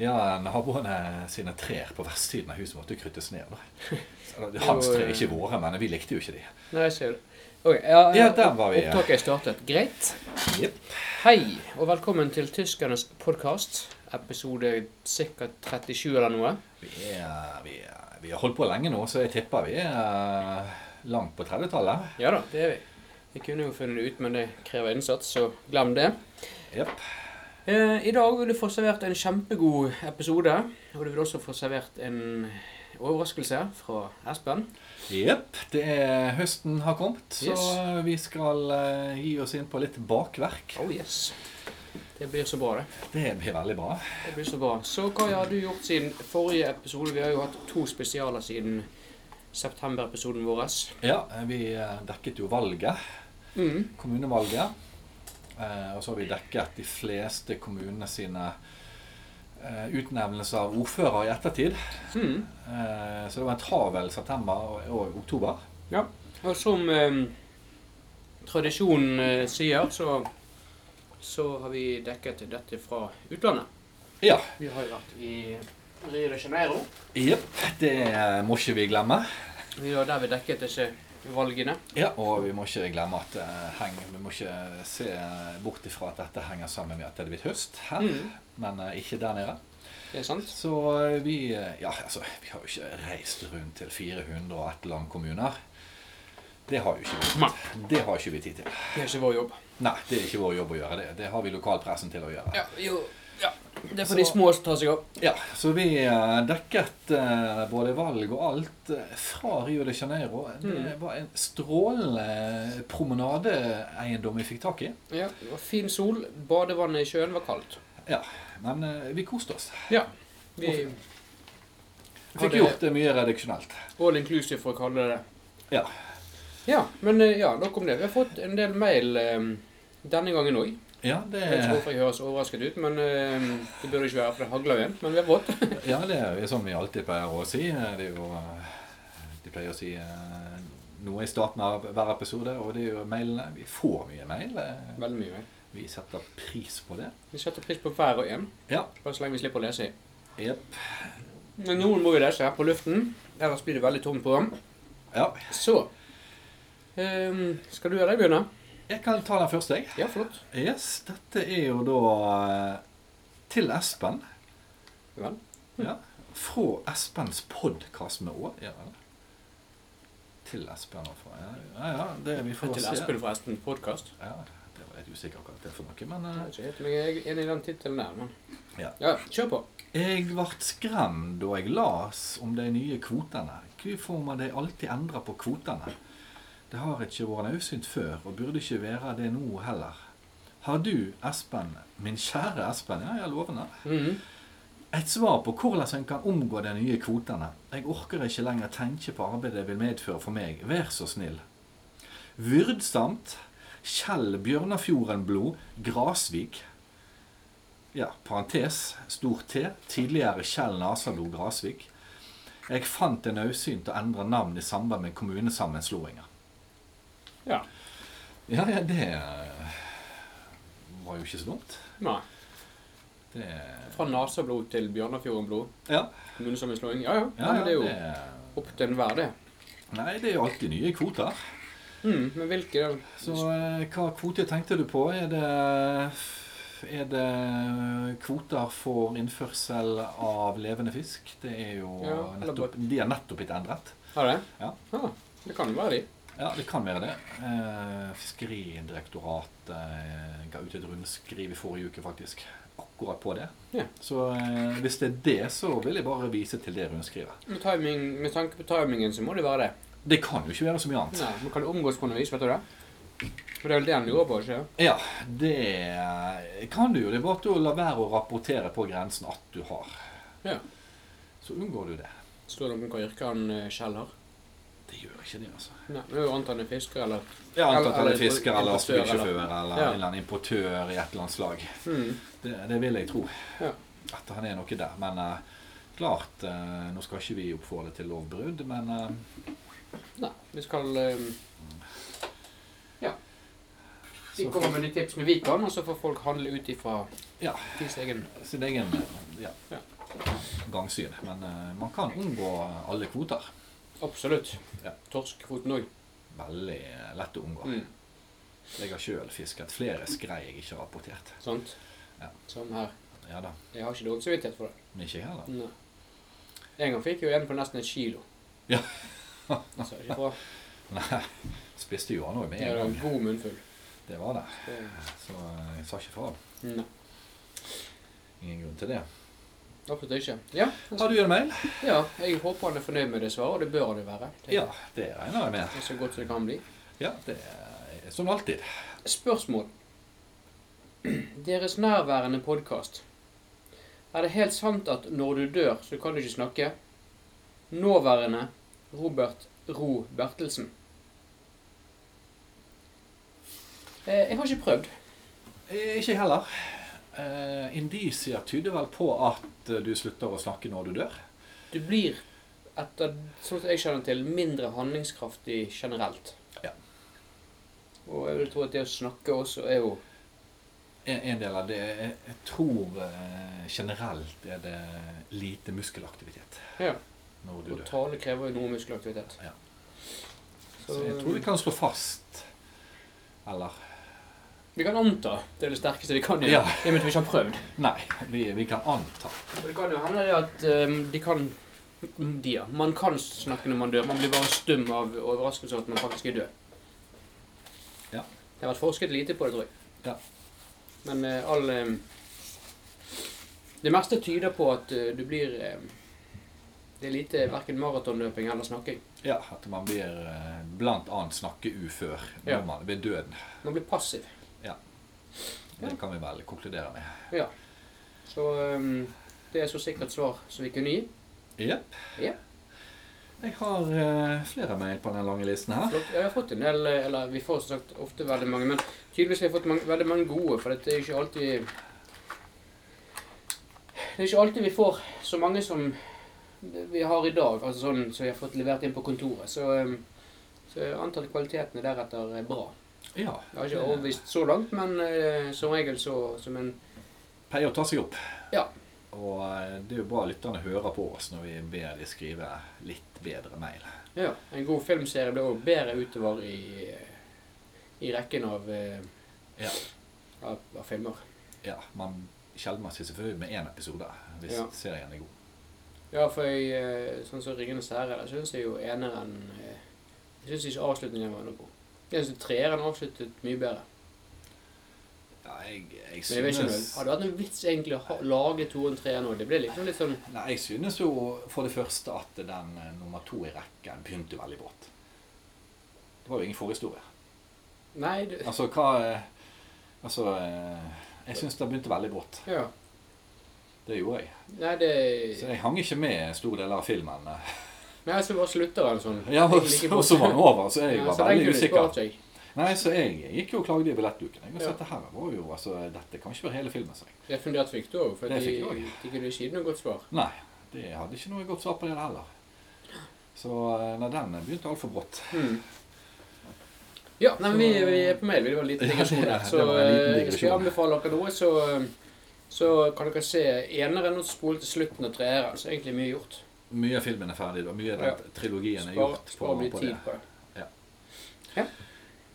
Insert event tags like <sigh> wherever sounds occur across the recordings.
Ja, naboene sine trær på vestsiden av huset måtte jo kryttes ned. <laughs> da. Eller, Hans tre, ikke våre, men vi likte jo ikke de. Nei, jeg ser det. Ok, ja, Ja, der var vi, ja. Opptaket er startet. Greit. Jep. Hei, og velkommen til Tyskernes podkast. Episode sikkert 37 eller noe. Vi, er, vi, er, vi har holdt på lenge nå, så jeg tipper vi er eh, langt på 30-tallet. Ja da, det er vi. Vi kunne jo funnet det ut, men det krever innsats, så glem det. Jep. Eh, I dag vil du få servert en kjempegod episode. Og du vil også få servert en overraskelse fra Espen. Jep, det er høsten har kommet, så Yes. vi skal eh, gi oss inn på litt bakverk. Oh yes. Det blir så bra, det. Det blir veldig bra. Det blir så bra. Så hva har du gjort siden forrige episode? Vi har jo hatt to spesialer siden september-episoden vår. Ja, vi eh, dekket jo valget, Mm. kommunevalget. Eh, Og så har vi dekket de fleste kommunene sine eh, utnevnelser av ordfører i ettertid. Mm. Eh, Så det var en travel september og- og oktober. Ja. Og som eh, tradisjonen eh, sier, så, så har vi dekket dette fra utlandet. Ja. Vi har jo vært i Rio de Janeiro. Jepp. Det må ikke vi glemme. Vi var der vi dekket disse valgene. Ja, Og vi må ikke glemme at eh, heng, vi må ikke se bort ifra at dette henger sammen med at det er blitt høst her, Mm. men eh, ikke der nede. Det er sant? Så eh, vi eh, Ja, altså, vi har jo ikke reist rundt til 401 landkommuner. Det har jo ikke vi. Det har ikke vi tid til. Det er ikke vår jobb. Nei, det er ikke vår jobb å gjøre det. Det har vi lokalpressen til å gjøre. Ja, jo. Ja. Det er Så- for de små som tar seg av. Ja, så vi eh, dekket eh, både valg og alt eh, fra Rio de Janeiro. Det Mm. var en strålende eh, promenadeeiendom vi fikk tak i. Ja, det var fin sol. Badevannet i sjøen var kaldt. Ja, Men eh, vi koste oss. Ja. Vi Vi fikk Hadde- gjort det mye reduksjonelt. All inclusive, for å kalle det det. Ja. Ja, men eh, ja, nok om det. Vi har fått en del mail eh, denne gangen òg. Ja, det, Jeg vet ikke hvorfor jeg høres overrasket ut, men eh, det burde ikke være, for det hagler jo igjen. Men vi har fått. ja, det er jo sånn vi alltid pleier å si. Det er jo, eh, de pleier å si eh, noe i starten av hver episode, og det er jo mailene. Vi får mye mail. eh, Veldig mye. mail. Vi setter pris på det. Vi setter pris på hver og en, Ja. bare så lenge vi slipper å lese i. Jepp. Men noen må vi lese her på luften, ellers blir det veldig tomt på dem. Ja. Så eh, Skal du eller jeg begynne? Jeg kan ta den første, jeg. Ja, flott. Yes, dette er jo da eh, til Espen. Vel. Ja. Fra Espens podkast med Å. Ja, vel. til Espen og fra ja, ja, ja, det vi får Til se. Espen, forresten. Podkast. Ja, det var litt usikker på hva det er for noe, men eh, Jeg er ikke helt meg enig i den tittelen der, men Ja. kjør på. eh, Jeg ble skremt da jeg las om de nye kvotene. Hvorfor må de alltid endre på kvotene? Det har ikke vært nødsynt før, og burde ikke være det nå heller. Har du, Espen, min kjære Espen, ja, jeg lover det. Mhm. Et svar på hvordan en kan omgå de nye kvotene. Jeg orker ikke lenger tenke på arbeidet det vil medføre for meg. Vær så snill. Vyrdsamt. Kjell Bjørnafjorden-blod. Grasvik. Ja, parentes. Stor T. Tidligere Kjell Nasalo Grasvik. Jeg fant det nødsynt å endre navn i samband med kommunesammenslåinger. Ja. Ja, ja, det var jo ikke så dumt. Nei. Det Fra Nasablod til Bjørnafjorden-blod. Ja. Kommunesammenslåing. Ja, ja. ja, Nei, men det er jo det- opp til enhver, det. Nei, det er jo alltid nye kvoter. Mm, men hvilke den? Så eh, hva kvote tenkte du på? Er det, er det eh, kvoter for innførsel av levende fisk? Det er jo Ja, eller nettopp, De er nettopp blitt endret. Har det? Ja. Ah, det kan jo være de. Ja, det kan være det. Eh, Fiskeridirektoratet eh, ga ut et rundskriv i forrige uke faktisk akkurat på det. Ja. Så eh, hvis det er det, så vil jeg bare vise til det rundskrivet. Med, timing, med tanke på timingen så må det være det. Det kan jo ikke være så mye annet. Nei, men kan det omgås på noe vis, vet du det? For det er vel det han lurer på, ikke Ja, det kan du jo. Det er bare å la være å rapportere på grensen at du har. Ja. Så unngår du det. Står det om hva yrke han eh, Kjell har? Det gjør ikke det, altså. Nei, men jo antar han er fisker, eller? Ja, antatt Eller- eller fisker eller importør, eller- lastebilsjåfør eller Ja. en eller annen importør i et eller annet slag. Mm. Det, det vil jeg tro. Ja. At han er noe der. Men eh, klart, eh, nå skal ikke vi oppfordre til lovbrudd, men eh, Nei, vi skal eh, Ja. Vi Så kommer får- med de tipsene vi kan, og så får folk handle ut ifra Ja. deres egen sin egen Ja. Ja. gangsyn. Men eh, man kan unngå alle kvoter. Absolutt. Ja. Torskekvoten òg. Veldig lett å unngå. Mm. Jeg har sjøl fisket flere skrei jeg ikke har rapportert. Sant? Ja. Samme her. Ja da, Jeg har ikke dårlig samvittighet for det. men ikke jeg heller. Nei. En gang fikk jeg jo en på nesten et kilo. Ja. Så ikke bra. <laughs> Nei, spiste jo han òg <laughs> med Det en er en gang. god munnfull. Det var det. Det- Så eh, jeg sa ikke fra. Nei, Ingen grunn til det. absolutt ikke. Ja, Har du en mail? ja, jeg håper han er fornøyd med det svaret, og det bør han jo være. tenker Ja, det regner jeg med. jeg. Så godt som det kan bli. Ja, det er som alltid. Spørsmål. <clears throat> Deres nærværende podkast. Er det helt sant at når du dør, så kan du ikke snakke? Nåværende Robert Ro Bertelsen. Eh, Jeg har ikke prøvd. Eh, Ikke heller. Eh, indisier tyder vel på at eh, du slutter å snakke når du dør. Du blir, etter sånn som jeg kjenner til, mindre handlingskraftig generelt. Ja. Og jeg vil tro at det å snakke også er jo En, en del av det Jeg jeg tror eh, generelt er det lite muskelaktivitet Ja. når du Og dør. tale krever jo noe muskelaktivitet. Ja. Så, Så jeg tror vi kan slå fast Eller Vi kan anta. Det er det sterkeste vi kan gjøre. Ja. I og med at vi ikke har prøvd. Nei, vi, vi kan anta. For Det kan jo hende det at ehm, de kan de, ja. Man kan snakke når man dør. Man blir bare stum av overraskelse over at man faktisk er død. Ja. Det har vært forsket lite på det, tror jeg. Ja. Men eh, all ehm, Det meste tyder på at eh, du blir ehm, Det er lite verken maratonløping eller snakking. Ja, At man blir eh, blant annet snakke ufør når Ja. man ved døden. Man blir passiv. Det kan vi vel konkludere med. Ja. Så ehm, det er så sikkert svar som vi kunne gi. Jepp. Ja. Jeg har eh, flere mail på den lange listen her. Flott. Ja, Jeg har fått en del, eh, eller vi får som sagt ofte veldig mange, men tydeligvis har jeg fått mange, veldig mange gode, for det er jo ikke alltid Det er ikke alltid vi får så mange som vi har i dag, altså sånn som vi har fått levert inn på kontoret. Så, eh, så jeg antar at kvaliteten er deretter er bra. Ja. Jeg har ikke overbevist så langt, men eh, som regel så som en pleier å ta seg opp. Ja. Og eh, det er jo bra lytterne hører på oss når vi ber de skrive litt bedre mail. Ja, en god filmserie ble også bedre utover i, eh, i rekken av, eh, Ja. av, av filmer. Ja, man sjelden man sier seg fornøyd med én episode hvis Ja. serien er god. Ja, for jeg, eh, sånn som 'Ringenes herre' der syns jeg jo eneren eh, Jeg syns ikke avslutningen var noe god. Jeg syns treeren avsluttet mye bedre. Ja, jeg, jeg Men jeg vet ikke om det synes hadde vært noen vits egentlig å ha- lage to og tre nå. Det ble liksom litt sånn Nei, jeg synes jo for det første at den eh, nummer to i rekken begynte veldig brått. Det var jo ingen forhistorie. Nei, det Altså, hva eh, Altså eh, Jeg syns det begynte veldig brått. Ja. Det gjorde jeg. Nei, Så det jeg hang ikke med store deler av filmen. eh. Nei, så bare slutter den sånn. Ja, og Like så bort. og så var den over, så jeg Ja, var så den veldig kunne du usikker. spart seg. Nei, så jeg gikk jo og klagde i billettluken. Jeg har Ja. sett det her var jo, altså, Dette kan ikke være hele filmen, sa jeg. Det funderte fikk du òg, for Det de, fikk jeg de kunne ikke gi noe godt svar. Nei, det hadde ikke noe godt svar på det heller. Så eh, nei, den begynte altfor brått. Mm. Ja, nei, men vi, vi er på mail. Det var en <laughs> liten Ja, digresjon det- der. det Så var en liten eh, digresjon. skal jeg anbefale dere noe, så, så kan dere se eneren og spole til slutten av treeren. Så egentlig mye gjort. Mye av filmen er ferdig, og mye av den trilogien er Spar, gjort på, spar litt på tid det. på det.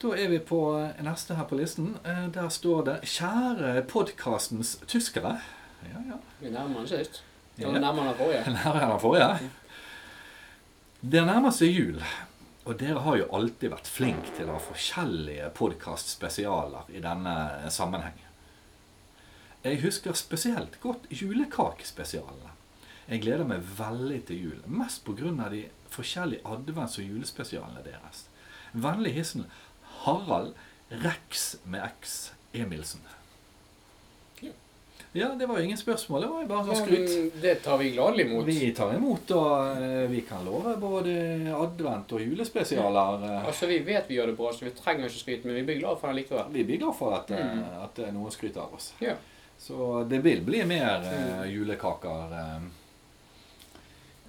Da er vi på eh, neste her på listen. Eh, Der står det 'Kjære podkastens tyskere'. Ja, ja. Vi nærmer oss sist. Det Ja. var nærmere enn <laughs> forrige. Nærmere enn den forrige. Det nærmer seg jul, og dere har jo alltid vært flink til å ha forskjellige podkastspesialer i denne sammenheng. Jeg husker spesielt godt julekakespesialene. Jeg gleder meg veldig til jul, mest pga. de forskjellige advents- og julespesialene deres. Vennlig hilsen Harald Rex med X Emilsen. Ja. Ja, det var jo ingen spørsmål. Det var jo bare Ja, sånn skryt. men det tar vi gladelig imot. Vi tar imot, og eh, vi kan love både advent og julespesialer. eh. Altså, Vi vet vi gjør det bra, så vi trenger ikke skryt, men vi blir glad for den likevel. Vi blir glad for at, eh, at det er noen skryter av oss. Ja. Så det vil bli mer eh, julekaker eh,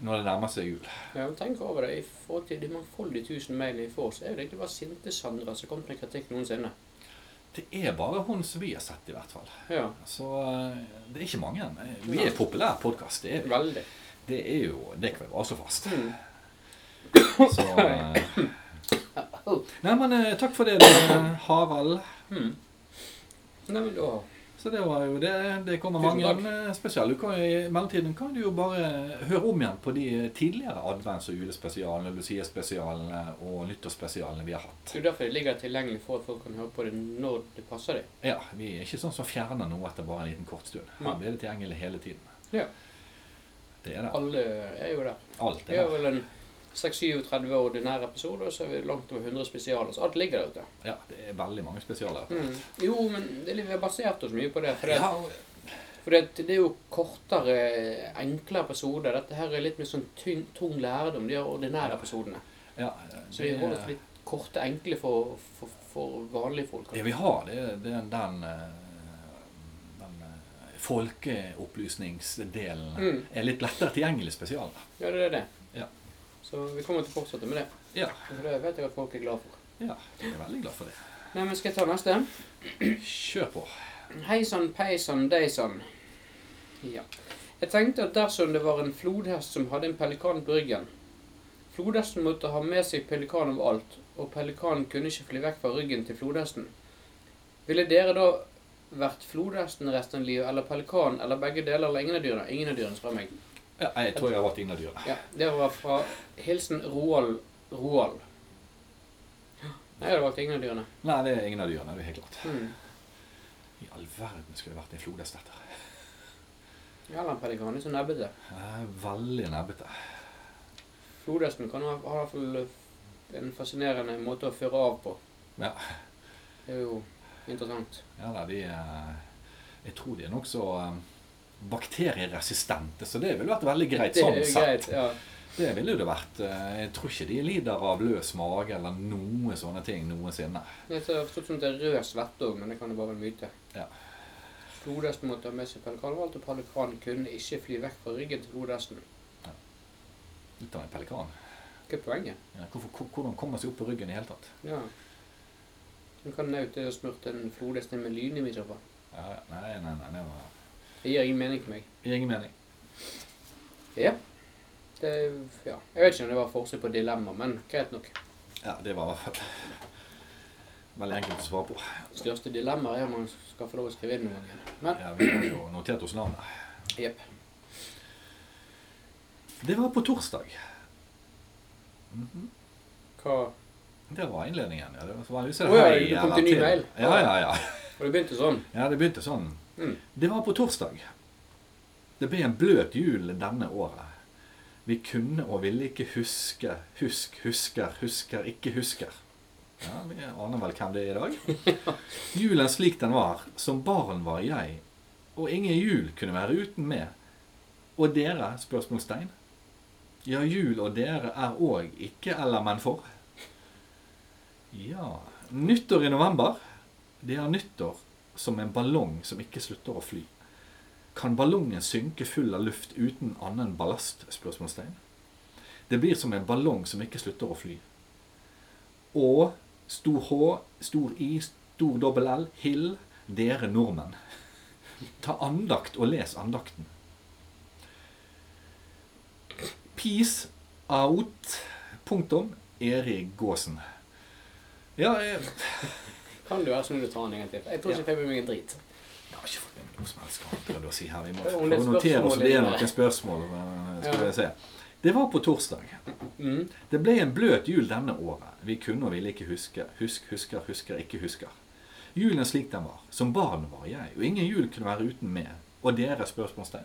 når det nærmer seg jul. Ja, men tenk over det. I forhold til de mangfoldige tusen mailene vi får, så er det egentlig bare sinte Sandra som kommer med kritikk noensinne. Det er bare hun som vi har sett, i hvert fall. Ja. Så eh, det er ikke mange. Eh, Vi er en populær podkast. Det, er vi. Veldig. det er jo Det kan vi bare slå fast. Mm. Så eh, Nei, men eh, takk for det, eh, Harald. Mm. Nei, men da Så det var jo det. Det kommer Tusen mange takk. eh, spesial. Du kan, I mellomtiden kan du jo bare høre om igjen på de tidligere advents- og julespesialene, Lucia-spesialene og nyttårsspesialene vi har hatt. Det er jo derfor det ligger tilgjengelig for at folk kan høre på det når det passer deg. Ja, Vi er ikke sånn som fjerner noe etter bare en liten kort stund. Nei. Her blir det tilgjengelig hele tiden. Ja. Det er det. Alle er jo der. Alt Vi er har der. vel en 36-37 ordinære episoder, og så er vi langt over 100 spesialer. Så alt ligger der ute. Ja, det er veldig mange spesialer. Mm. Jo, men det, er litt- vi har basert oss mye på det. For det, Ja, for det, det er jo kortere, enkle episoder. Dette her er litt mer sånn tynn, tung lærdom, de her ordinære episodene. ja, Så vi det- holder oss litt korte, enkle for, for, for vanlige folk. Det vi har, det er det er den, eh, den eh, folkeopplysningsdelen. Mm. Er litt lettere tilgjengelig spesial. Ja, det er det. Ja. Så vi kommer til å fortsette med det. Ja. For det vet jeg at folk er glad for. ja, jeg er veldig glad for det. Nei, men skal jeg ta neste? Kjør på. Hei sann, pei sann, dei sann. Ja. Jeg tenkte at dersom det var en flodhest som hadde en pelikan på ryggen Flodhesten måtte ha med seg pelikan overalt, og pelikanen kunne ikke fly vekk fra ryggen til flodhesten. Ville dere da vært flodhesten resten av livet, eller pelikanen, eller begge deler, eller ingen av dyrene? Ingen av dyrene, spør meg. Ja, jeg tror jeg har vært inne i dyrene. Ja, det var fra hilsen Roald Roald. Nei, det var ingen av dyrene. Nei, det er ingen av dyrene. det er helt klart. Hmm. I all verden skulle jeg vært en flodhest etter. Eller en pelikan, litt sånn nebbete. Jeg er Veldig nebbete. Flodhesten kan ha ha i hvert fall eh, en fascinerende måte å føre av på. Ja. Det er jo interessant. Ja, nei, de, eh, jeg tror de er nokså eh, bakterieresistente, så det ville vært veldig greit Det er sånn jo sett. greit. Ja. Det ville jo det vært. Eh, Jeg tror ikke de lider av løs mage eller noe sånne ting noensinne. Jeg har forstått som det er rød svette òg, men det kan jo bare være en myte. Ja. Flodhesten måtte ha med seg pelikanvalgt, og pelikanen kunne ikke fly vekk fra ryggen til flodhesten. Litt av en pelikan. Hva er poenget? Ja, hvorfor, hvor- hvordan kommer man seg opp på ryggen i hele tatt? Ja. Du kan naute og smurte en flodhest inn med lynlim i så fall. Ja, ja, nei, nei, nei, det var Det gir ingen mening for meg. gir ingen mening. Ja. Det, ja. Jeg vet ikke om det var forskjell på dilemma, men greit nok. Ja, det var <laughs> i hvert fall veldig enkelt å svare på. Største dilemma er om man skal få lov å skrive inn noen ganger. Men Ja, vi har jo notert oss navnet. Jepp. Det var på torsdag. Mhm. Hva Det var innledningen. ja. Det var veldig Å ja, det kom til ny eller mail. Ja, ja, ja. Og det begynte sånn. Ja, det begynte sånn. Mm. Det var på torsdag. Det ble en bløt jul denne året. Vi kunne og ville ikke huske, husk, husker, husker, ikke husker. Ja, vi aner vel hvem det er i dag. Julen slik den var, som barn var jeg, og ingen jul kunne være uten meg. Og dere, spørsmålstegn? Ja, jul og dere er òg ikke eller men for. Ja Nyttår i november. Det er nyttår som en ballong som ikke slutter å fly. Kan ballongen synke full av luft uten annen ballast? spørsmålstegn. Det blir som en ballong som ikke slutter å fly. Og stor H, stor I, stor dobbel L, hill, dere nordmenn. <laughs> Ta andakt og les andakten. Peace out. Punktum. Erik Gåsen. Ja, eh, jeg Kan du være snill å ta den en gang til? Jeg tror ikke jeg fikk med meg en drit. Jeg har ikke fått med meg noe som helst hva han prøvde å si her. Vi må Det var prøve litt å notere oss spørsmål det er inne. noen spørsmål. men Skal Ja. vi se. Det var på torsdag. Mm. Det ble en bløt jul denne året. Vi kunne og ville ikke huske. Husk, husker, husker, ikke husker. Julen slik den var. Som barn var jeg, og ingen jul kunne være uten meg. Og dere? spørsmålstegn.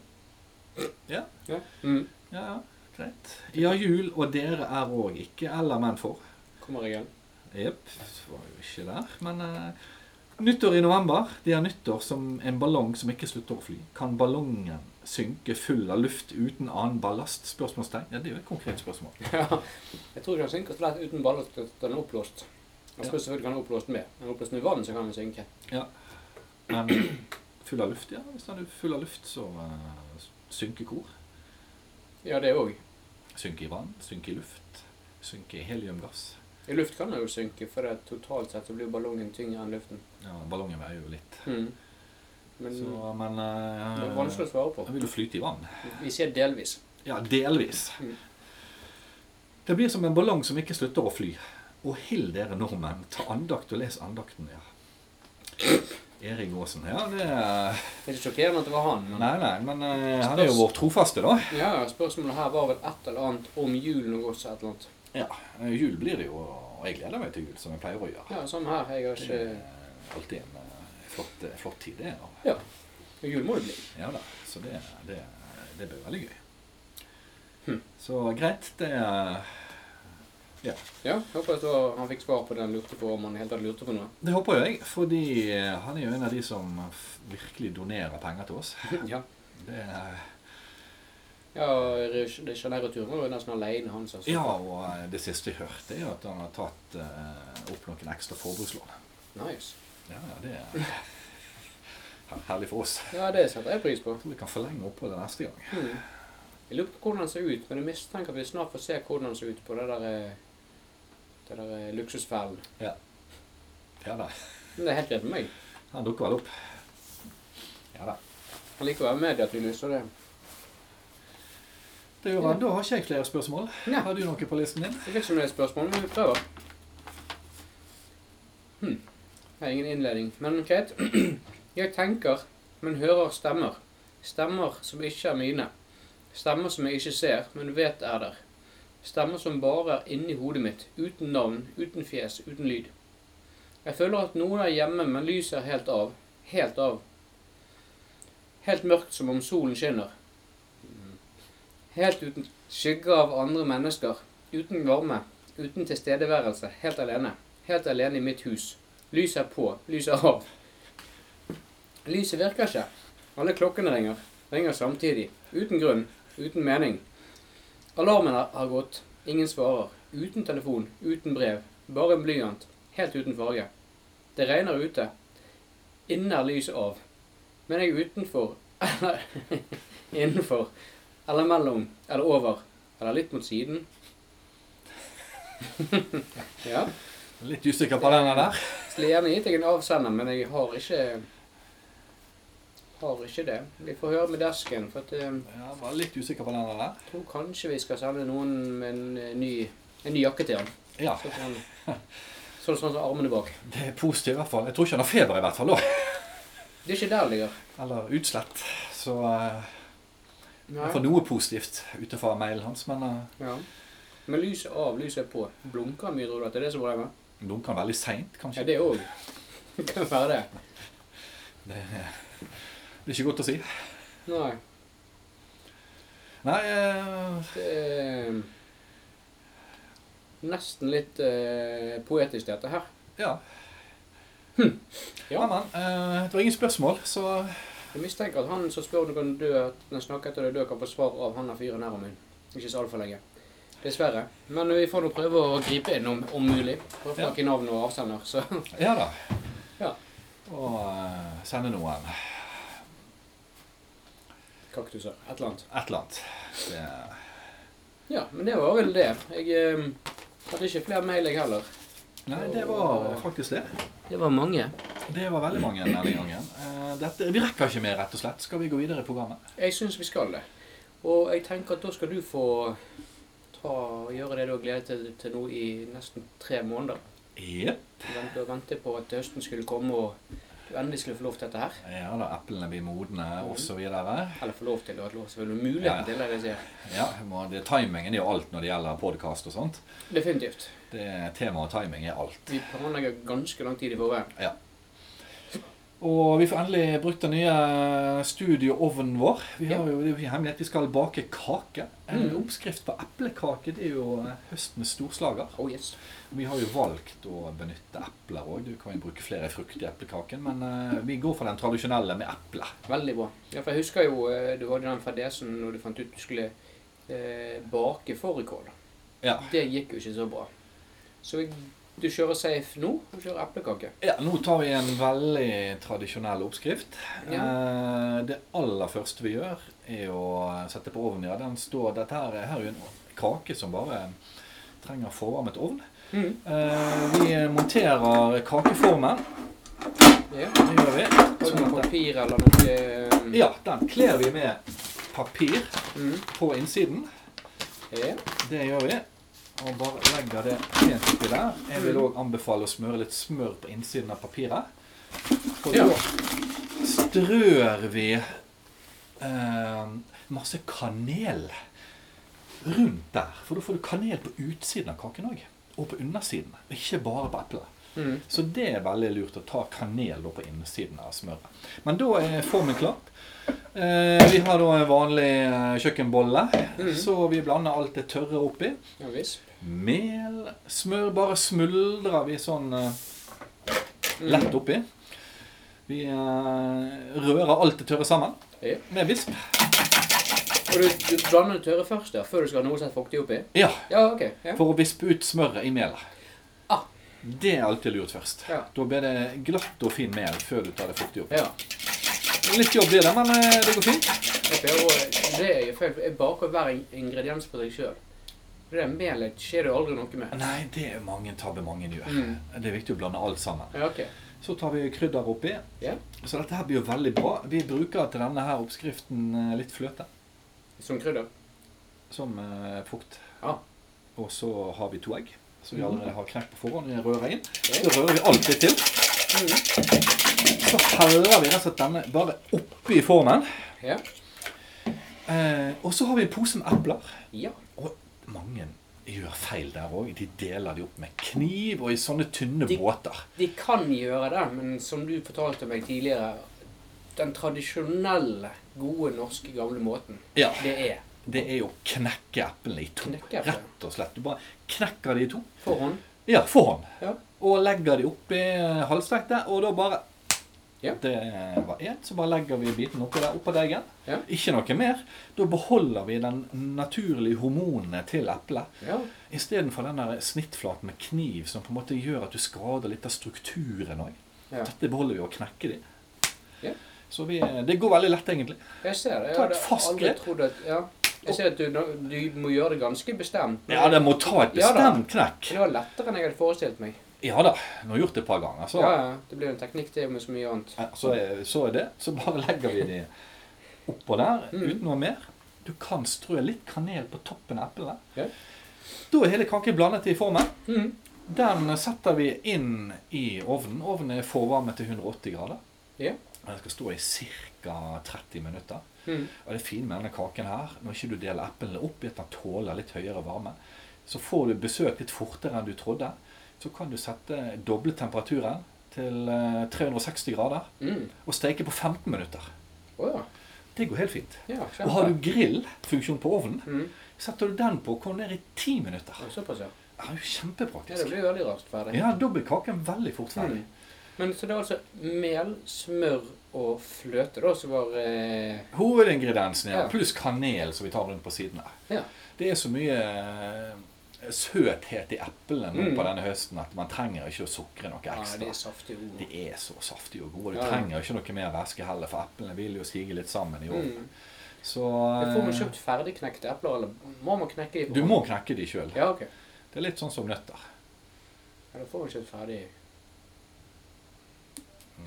Ja, Ja. Mm. ja, ja, greit. Ja, jul og dere er òg ikke eller men for. Kommer jeg igjen? Jepp. Var jo ikke der, men eh, Nyttår i november. Det er nyttår som en ballong som ikke slutter å fly. Kan ballongen synke full av luft uten annen ballast? Spørsmålstegn. Ja, det er jo et konkret spørsmål. <laughs> Ja. Jeg tror ikke han synker så lett uten ballast at den er oppblåst. Jeg spør selvfølgelig kan han oppblåst med. Er den oppblåst med vann, så kan den synke. Men full av luft, ja. Hvis den er full av luft, så eh, synker kor. Ja, det òg. Synker i vann. Synker i luft. Synker i heliumgass. I luft kan den jo synke, for det, totalt sett så blir jo ballongen tyngre enn luften. Ja, ballongen veier jo litt. Mm. Men Så, men det er eh, vanskelig å svare på. Den vil jo flyte i vann. Vi sier delvis. Ja, delvis. Mm. Det blir som en ballong som ikke slutter å fly. Og hill dere nordmenn, ta andakt og les andakten der. Erik Aasen. Ja, det er Det er ikke sjokkerende at det var han. Men Nei, nei, men eh, han er jo vår trofaste, da. ja, spørsmålet her var vel et eller annet om julen og også et eller annet. Ja, eh, Jul blir det jo, og jeg gleder meg til jul, som jeg pleier å gjøre. Ja, samme her. Jeg har Det er ikke alltid en eh, flott, eh, flott tid, det. da. Ja. Jul må det bli. Ja da, så det, det, det blir veldig gøy. Hm. Så greit, det Ja. Ja, håper at det var- han fikk svar på det han lurte på, om han helt hadde lurte på noe. Det håper jo jeg, fordi eh, han er jo en av de som f- virkelig donerer penger til oss. <laughs> Ja. Det er, eh, Ja, og Rio de Janeiro-turen var jo nesten alene hans. Altså. ja, og eh, det siste jeg hørte, er jo at han har tatt eh, opp noen ekstra forbrukslån. Nice. Ja, ja, det er her- herlig for oss. Ja, det setter jeg pris på. Jeg tror vi kan forlenge oppholdet neste gang. Mm. Jeg lurer på hvordan han ser ut, men jeg mistenker at vi snart får se hvordan han ser ut på det der, eh, det der eh, luksusfellen. Ja da, Men det er helt greit med meg. han dukker vel opp. Ja da. Han liker å være med i at vi lyser det. Det gjør han. Da har ikke jeg flere spørsmål. Nei. Har du noe på listen din? Jeg fikk ikke noe spørsmål, men vi prøver. Hm. Jeg har ingen innledning, men greit. <clears throat> Jeg tenker, men hører stemmer. Stemmer som ikke er mine. Stemmer som jeg ikke ser, men vet er der. Stemmer som bare er inni hodet mitt, uten navn, uten fjes, uten lyd. Jeg føler at noen er hjemme, men lyset er helt av. Helt av. Helt mørkt som om solen skinner. Helt uten skygge av andre mennesker. Uten varme, uten tilstedeværelse, helt alene. Helt alene i mitt hus. Lyset er på, lyset er av. Lyset virker ikke. Alle klokkene ringer. Ringer samtidig. Uten grunn, uten mening. Alarmen er- har gått. Ingen svarer. Uten telefon, uten brev. Bare en blyant. Helt uten farge. Det regner ute. Inne er lyset av. Men jeg er utenfor, eller <laughs> innenfor, eller mellom, eller over, eller litt mot siden. ja. Litt usikker på denne der. Skulle gjerne gitt deg en avsender, men jeg har ikke har ikke det. Vi får høre med desken. for at, eh, Ja, jeg var litt usikker på denne der. Jeg tror kanskje vi skal sende noen med en eh, ny, en ny jakke til han. Ja, Så kan han sånn sånn som armene bak. det er positivt i hvert fall. Jeg tror ikke han har feber i hvert fall da. Det er ikke der det ligger. Eller utslett. Så eh, Nei. jeg får noe positivt ut fra mailen hans, men eh, Ja. Men lyset av, lyset på. Blunker han mye, tror du at det er det som er problemet? dunker han veldig seint, Ja, kanskje. det òg. Det <laughs> kan være det. Det <laughs> er ikke godt å si. Nei. Nei, eh, Det er nesten litt eh, poetisk, dette her. ja. Ja. Ja, men eh, det var ingen spørsmål, så Jeg mistenker at han som spør om du kan dø, at den snakker etter deg dø, kan få svar av han der fyren her om hun. Ikke så altfor lenge. Dessverre. Men vi får nå prøve å gripe inn om, om mulig. Prøve å få Ja. tak i navn og avsender. Så <laughs> ja da. Ja. Og eh, sende noen kaktuser. Et eller annet. et eller annet. Det, Ja, men det var vel det. Jeg eh, hadde ikke flere mail, jeg heller. nei, det var faktisk det. Det var mange. Det var veldig mange denne gangen. Eh, dette, vi rekker ikke mer, rett og slett. Skal vi gå videre i programmet? Jeg syns vi skal det. Og jeg tenker at da skal du få ta, gjøre det du har gledet deg til nå i nesten tre måneder. Jepp. Du vent- Du ventet på at høsten skulle komme, og du endelig skulle få lov til dette her. Ja da, eplene blir modne og så videre. Eller få lov til, og at lov Ja, selvfølgelig ja. muligheten til det. vil jeg si. Ja, må- det, Timingen er jo alt når det gjelder podkast og sånt. Definitivt. Det, tema og timing er alt. Vi planlegger ganske lang tid i forveien. Og vi får endelig brukt den nye studioovnen vår. Vi har jo det er jo hemmelighet, vi skal bake kake. En Mm. oppskrift på eplekake det er jo eh, høstens storslager. Oh yes. Vi har jo valgt å benytte epler òg. Du kan jo bruke flere frukter i eplekaken, men eh, vi går for den tradisjonelle med eple. Veldig bra. Ja, for jeg husker jo eh, du hadde den fadesen når du fant ut du skulle eh, bake fårikål. Ja. Det gikk jo ikke så bra. Så vi, du kjører safe nå, og kjører eplekake. Ja, nå tar vi en veldig tradisjonell oppskrift. Eh, det aller første vi gjør, er å sette på ovnen. Ja, den står, dette her, her er jo en kake som bare trenger forvarmet ovn. Mm. Eh, vi monterer kakeformen. Ja. Det gjør vi. Har du Sånn noe at den- papir eller noe eh, ja, den kler vi med papir Mm. på innsiden. Ja. Det gjør vi. Og bare legger det pent oppi der. Jeg vil Mm. òg anbefale å smøre litt smør på innsiden av papiret. For Ja. da strør vi eh, masse kanel rundt der. For da får du kanel på utsiden av kaken òg. Og på undersiden. Ikke bare på eplet. Mm. Så det er veldig lurt å ta kanel da på innsiden av smøret. Men da er formen klar. Eh, vi har da en vanlig eh, kjøkkenbolle, Mhm. så vi blander alt det tørre oppi. ja visst. Mel, smør Bare smuldrer vi sånn eh, lett Mhm. oppi. Vi eh, rører alt det tørre sammen Ja. med visp. Og du, du blander det tørre først der, før du skal ha noe som er fuktig oppi? Ja, Ja, OK. Ja. for å vispe ut smøret i melet. Ah. Det er alltid lurt først. Ja. Da blir det glatt og fin mel før du tar det fuktig opp. ja. Litt jobb blir det, men eh, det går fint. Ok, og det er jo feil. for Jeg baker hver in- ingrediens for deg sjøl. Det melet skjer det jo aldri noe med. Nei, det er mange tabber mange gjør. Mm. Det er viktig å blande alt sammen. Ja, OK. Så tar vi krydder oppi. Ja. Så dette her blir jo veldig bra. Vi bruker til denne her oppskriften eh, litt fløte Som krydder. som eh, frukt. Ja. Og så har vi to egg som vi Mhm. allerede har knekt på forhånd. Vi rører inn. Ja. Så rører vi alt litt til. Mm. Så heller vi rett og slett denne bare oppi formen. Ja. Eh, og så har vi en pose med epler. ja. Og mange gjør feil der òg. De deler de opp med kniv og i sånne tynne De- båter. De kan gjøre det, men som du fortalte meg tidligere Den tradisjonelle, gode norske, gamle måten, Ja. det er det er jo å knekke eplene i to. Knekke eplene. Rett og slett. Du bare knekker de i to. forhånd. Ja, foran. Ja. Og legger de oppi halvstekte, og da bare Ja. Det var én, så bare legger vi biten oppi der, oppå deigen. Ja. Ikke noe mer. Da beholder vi den naturlige hormonene til eplet. Ja. Istedenfor den der snittflaten med kniv som på en måte gjør at du skader litt av strukturen òg. ja. Dette beholder vi og knekker de. Ja. Så vi, det går veldig lett, egentlig. Jeg ser det. Jeg Ta et hadde fast aldri grep. trodd at Ja. Jeg ser at du, du må gjøre det ganske bestemt. Ja, det må ta et Ja da. bestemt knekk. Det var lettere enn jeg hadde forestilt meg. Ja da, nå har jeg gjort det et par ganger. Så, Ja, ja. Det blir jo en teknikk, det, med så mye annet. eh, så, er, så er det. Så bare legger vi de oppå der Mm. uten noe mer. Du kan strø litt kanel på toppen av eplene. Ja. Da er hele kaken blandet i formen. Mm. Den setter vi inn i ovnen. Ovnen er forvarmet til 180 grader. Ja. Den skal stå i ca. 30 minutter. Mm. Og det fine med denne kaken her, når ikke du deler eplene opp i at den tåler litt høyere varme, så får du besøk litt fortere enn du trodde. Så kan du sette doble temperaturen til eh, 360 grader Mm. og steke på 15 minutter. Å ja. Det går helt fint. ja. Og Kjempe. har du grillfunksjon på ovnen, Mm. setter du den på og kommer ned i 10 minutter. Ja, Såpass, ja. Det er jo ja. Det kjempepraktisk. blir veldig raskt ferdig. Ja, da blir kaken veldig fort ferdig. Mm. Men så det er altså mel, smør og fløte da som var eh, Hovedingrediensene, ja. Ja. Pluss kanel som vi tar rundt på sidene. Ja. Det er så mye eh, søthet i eplene nå Mm. på denne høsten at man trenger ikke å sukre noe ja, ekstra. det er saftige ord. de er så saftige og gode. Du Ja, ja. trenger ikke noe mer væske heller, for eplene vil jo sige litt sammen i år. Mm. Så Jeg får man eh, kjøpt ferdigknekte epler, eller må man knekke dem? du må knekke de sjøl. Ja, ok. Det er litt sånn som nøtter. Ja, da får man kjøpt ferdig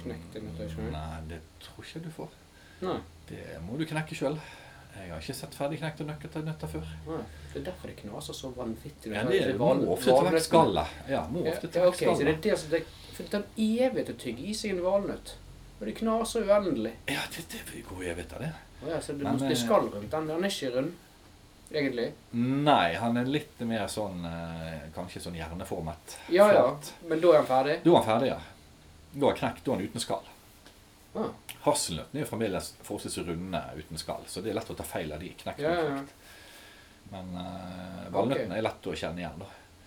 Knekte nøtter Mm, sjøl? Nei, det tror ikke du får. Nei. Det må du knekke sjøl. Jeg har ikke sett ferdigknekte nøkkel- nøtter før. nei. Det er derfor det knaser så vanvittig. Ja, det må ofte ta vekk skallet. Ja, må Ja, ofte ta ja, vekk ok, så det skallet. er det som det For det tar en evighet å tygge i seg en valnøtt. Og det knaser uendelig. Ja, det, det er god evighet av det. Å ja, så det, Men, det er eh, skall rundt den. Den er ikke rund, egentlig. Nei, han er litt mer sånn eh, Kanskje sånn hjerneformet. Ja, ja. Flat. Men da er den ferdig? Da er han ferdig, ja. Da er knekt, da er han uten skall. Ah. Hasselnøttene er jo fremdeles forholdsvis runde uten skall, så det er lett å ta feil av de. Knekt Ja, og ja, ja. knekt. Men eh, valnøttene er lett å kjenne igjen, da.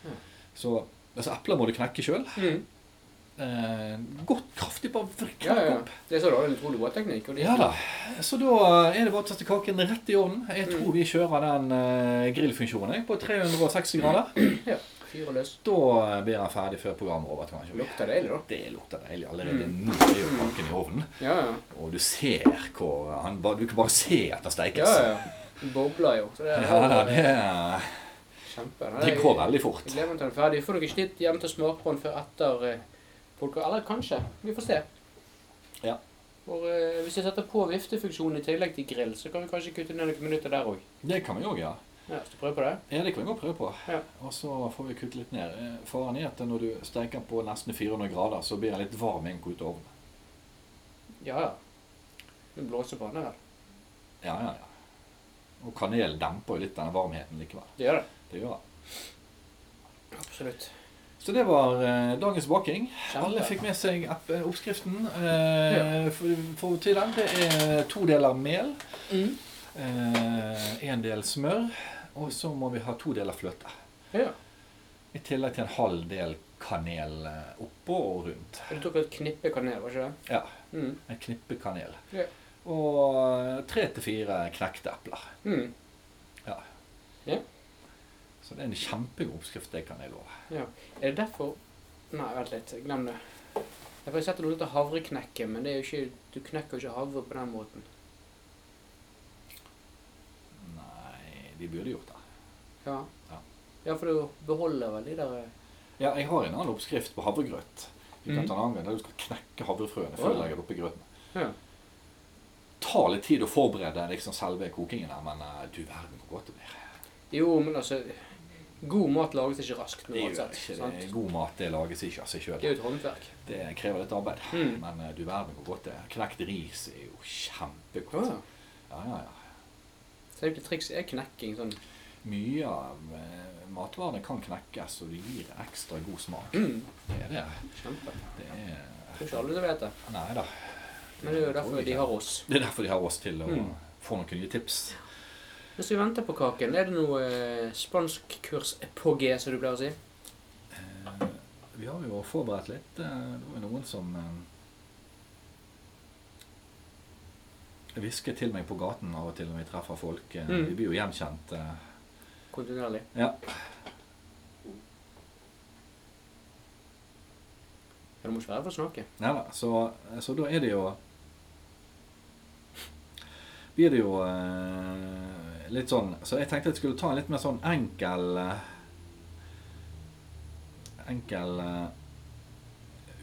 Ja. Så altså, epler må du knekke sjøl. Mm. Eh, godt kraftig, bare vri- knekk Ja, ja. opp. Det er så da, en utrolig bra teknikk. Og det, Ja da. Så da er det bare å sette kaken rett i ovnen. Jeg Hm. tror vi kjører den eh, grillfunksjonen jeg, på 360 grader. Ja, Fyr og løs. Da blir den ferdig før programmet er over. kanskje. Lukter deilig, da. Det lukter deilig allerede Mm. nå. Det er jo kaken i ovnen. Ja, ja. Og du ser hvor han, ba- Du kan bare se at den ja, stekes. ja. Den Bobler jo. Så det Ja, er da, det er kjempe. Nei, Det går veldig Jeg fort. gleder meg til den er ferdig. Får dere ikke litt hjem til å smake på den før etter eh, folk, Eller kanskje. Vi får se. Ja. For eh, hvis jeg setter på viftefunksjonen i tillegg til grill, så kan vi kanskje kutte ned noen minutter der òg. Det kan vi òg, ja. Ja, skal du prøve på det? Ja, det kan vi godt prøve på. Ja. Og så får vi kutte litt ned. Eh, Faren er at når du steker den på nesten 400 grader, så blir den litt varm inn ut av ovnen. Ja, ja. Du blåser på den her. Ja, ja, ja. Og kanel demper jo litt denne varmheten likevel. Det gjør det. Det gjør den. Absolutt. Så det var eh, dagens baking. Kjempe. Alle fikk med seg app- eh, oppskriften. Eh, for, for til den, det er to deler mel, Mm. eh, en del smør, og så må vi ha to deler fløte. Ja. I tillegg til en halv del kanel eh, oppå og rundt. Du tok et knippe kanel, var ikke det? Ja. Mm. En knippe kanel. Ja. Og eh, tre til fire knekte epler. Mm. Så det er en kjempegod oppskrift, det kan jeg love. Er det derfor Nei, vent litt. Glem det. Jeg har sett noe som heter havreknekke, men det er jo ikke, du knekker jo ikke havre på den måten. Nei, de burde gjort det. Ja. Ja. ja, for du beholder vel de der eh, Ja, jeg har en annen oppskrift på havregrøt. Vi kan Mhm. ta en annen gang, der du skal knekke havrefrøene Å, før ja. du legger det oppi grøten. Ja. Ta litt tid å forberede liksom selve kokingen her, men eh, du verden hvor godt det blir. Jo, men altså God mat lages ikke raskt. Det Med gjør uansett, ikke sant? det. God mat det lages ikke av seg det er sjøl. jo et håndverk. Det krever litt arbeid. Mhm. Men eh, du verden hvor godt det er. Knekt ris er jo kjempegodt. Ah, Ja, ja, ja. så egentlig triks er knekking. sånn. Mye av eh, matvarene kan knekkes, og det gir ekstra god smak. Mm, Det er det. kjempe. Det Det er er ikke alle som vet det. Nei da. Men det er jo derfor de har oss. Det er derfor de har oss til å Mm. få noen nye tips. Hvis vi venter på kaken, er det noe eh, spanskkurs på G, som du pleier å si? Eh, Vi har jo forberedt litt. Eh, Det var jo noen som eh, hvisket til meg på gaten av og til når vi treffer folk. Eh, Mm. Vi blir jo gjenkjent. eh. Kontinuerlig. Ja. Ja, Du må ikke være for å snakke. Nei da. Så, så da er det jo Blir det jo eh, litt sånn Så jeg tenkte jeg skulle ta en litt mer sånn enkel eh, Enkel eh,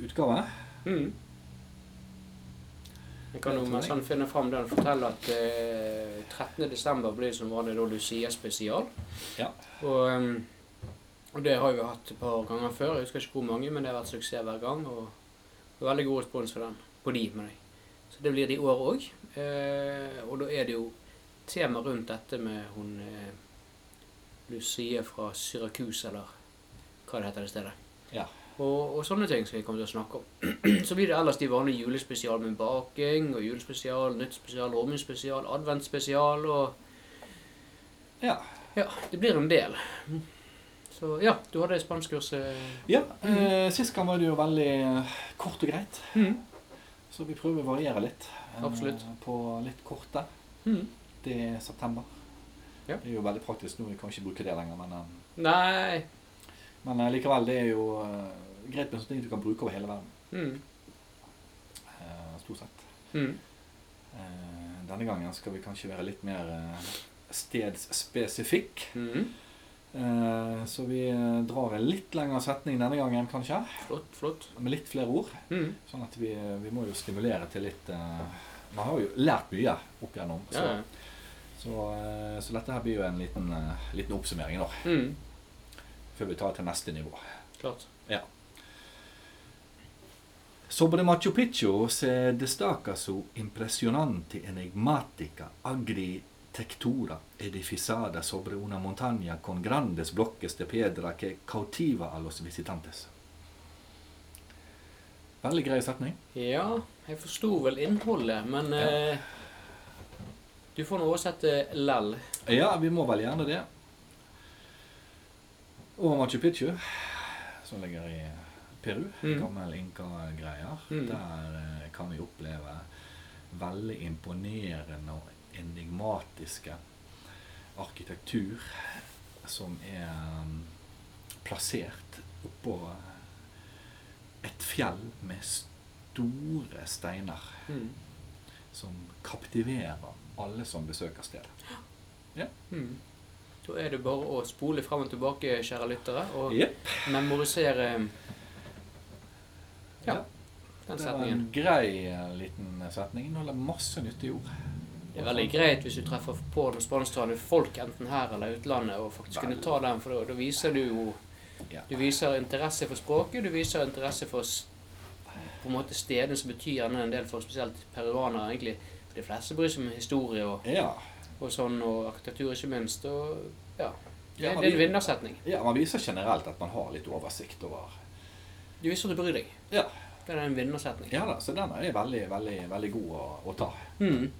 utgave. Mm. Jeg kan jo Det tror mens jeg. han finner fram den, fortelle at eh, 13. desember blir som vanlig da Lucia spesial. Ja. Og, ehm, og det har vi hatt et par ganger før. Jeg husker ikke hvor mange, men det har vært suksess hver gang. Og veldig god respons for den. På de, mener jeg. Så det blir det i år òg. Eh, og da er det jo tema rundt dette med hun eh, Lucia fra Syracuse, eller hva det heter det stedet. Ja. Og, og sånne ting skal vi komme til å snakke om. Så blir det ellers de vanlige julespesial med baking, og julespesial, nytt spesial, romjulsspesial, adventsspesial og Ja. Ja, det blir en del. Så ja, du hadde spanskkurset ja eh, sist gang var det jo veldig eh, kort og greit. mm. Så vi prøver å variere litt. eh, Absolutt. På litt korte. mm. Det er september. Ja. Det er jo veldig praktisk nå. Vi kan ikke bruke det lenger. Men, eh, Nei men eh, likevel, det er jo eh, greit med sånne ting du kan bruke over hele verden. mm. eh, Stort sett. Mm. Eh, Denne gangen skal vi kanskje være litt mer eh, stedsspesifikk. Mm. Eh, Så vi eh, drar en litt lengre setning denne gangen, kanskje. Flott, flott. Med litt flere ord. Mm. Sånn at vi, vi må jo stimulere til litt eh, Man har jo lært mye opp igjennom. Så, Ja, ja. så, eh, så dette her blir jo en liten, eh, liten oppsummering nå, Mm. før vi tar til neste nivå. Klart. Sobre Machu Picchu se destaca su impresionante enigmática agritectura edificada sobre una montaña con grandes bloques de piedra que cautiva a los visitantes. Veldig grei setning. Ja, jeg forsto vel innholdet, men Ja. eh, Du får nå oversette lell. Ja, vi må vel gjerne det. Og Machu Picchu, som ligger i Peru. Mm. Gammel inka-greier. Mm. Der eh, kan vi oppleve veldig imponerende og enigmatiske arkitektur som er mm, plassert oppå et fjell med store steiner Mm. som kaptiverer alle som besøker stedet. Mm. Da er det bare å spole frem og tilbake, kjære lyttere, og Jepp. memorisere Ja. Ja. den Det var en setningen. grei eh, liten setning. Inneholder masse nyttige ord. Det er veldig greit hvis du treffer på noen spansktalende folk, enten her eller utlandet, og faktisk kunne ta den, for da, da viser du jo Ja. Du viser interesse for språket, du viser interesse for s- på en måte stedene som betyr gjerne en del for spesielt peruanere, egentlig. For de fleste bryr seg om historie og, Ja. og sånn, og arkitektur ikke minst. Og ja. Det, Ja, det er en vi- vinnersetning. ja, man viser generelt at man har litt oversikt over Du viser at du bryr deg. Ja. Det er en vinnersetning. Ja da, så den er veldig, veldig, veldig god å, å ta. Mm.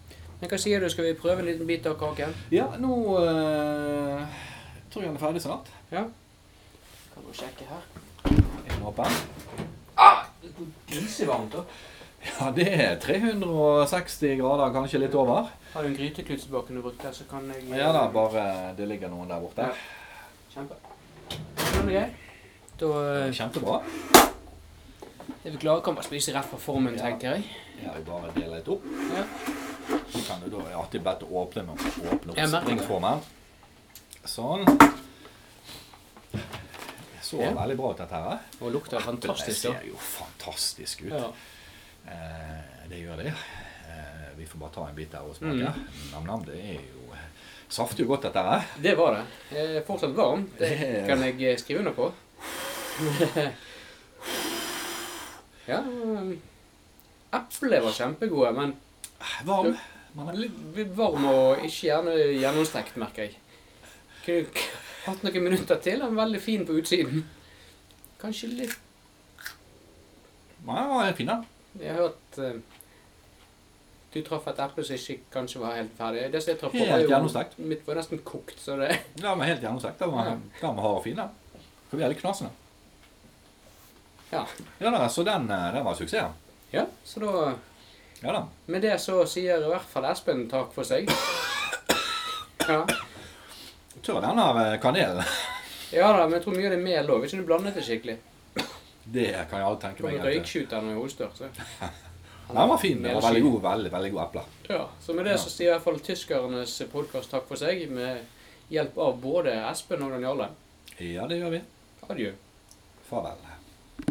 Men hva sier du, skal vi prøve en liten bit av kaken? Ja, nå eh, tror jeg den er ferdig snart. Ja. Kan du sjekke her? Jeg må oppe. Ah! Det går grisevarmt, da. Ja, det er 360 grader, kanskje litt over. Har du en gryteklut tilbake du brukte, så kan jeg eh, Ja da, bare det ligger noen der borte. Kjempe. Men det er greit. Da eh, Kjempebra. er vi klare. Kan bare spise rett fra formen, Ja. tenker jeg. Ja, vi bare deler litt opp. Ja. Så kan du da er alltid bedt å åpne med å åpne Jeg opp merker det. springformen. Sånn. Det så Ja. veldig bra ut dette her. Og lukter fantastisk, Det da. ser jo fantastisk ut. Ja. Eh, det gjør det. Eh, vi får bare ta en bit der og smake. Mm. Nam-nam, det er jo eh, saftig og godt dette her. Det var det. Eh, Fortsatt varm. Det Det- kan jeg eh, skrive under på. ja eh, Eplene var kjempegode, men Varm. Man er litt, litt varm og ikke gjerne gjennomstekt, merker jeg. Kunne k- hatt noen minutter til. Den er veldig fin på utsiden. Kanskje litt Nei, den var fin, den. Jeg har hørt eh, du traff et eple som ikke kanskje var helt ferdig. Det som jeg traff på, Helt var gjennomstekt. jo mitt var nesten kokt, så det <laughs> Den var helt gjennomsekt. Den var, Ja. den var hard og fin, den. For vi er litt knasende. Ja. Ja da, så den, eh, den var suksess. Ja, så da Ja da. Med det så sier i hvert fall Espen takk for seg. Ja. Tør den av eh, kanelen. ja da, men jeg tror mye av det er mel òg. Hvis ikke du blandet det skikkelig. Det kan jeg aldri tenke Kommer meg. at- en røykskyter når jeg hoster. Så. <laughs> Den var fin. Den var veldig Melski. god, veldig, veldig god eple. Ja, så med det så sier i hvert fall tyskernes podkast takk for seg, med hjelp av både Espen og Daniale. Ja, det gjør vi. Adjø. Farvel.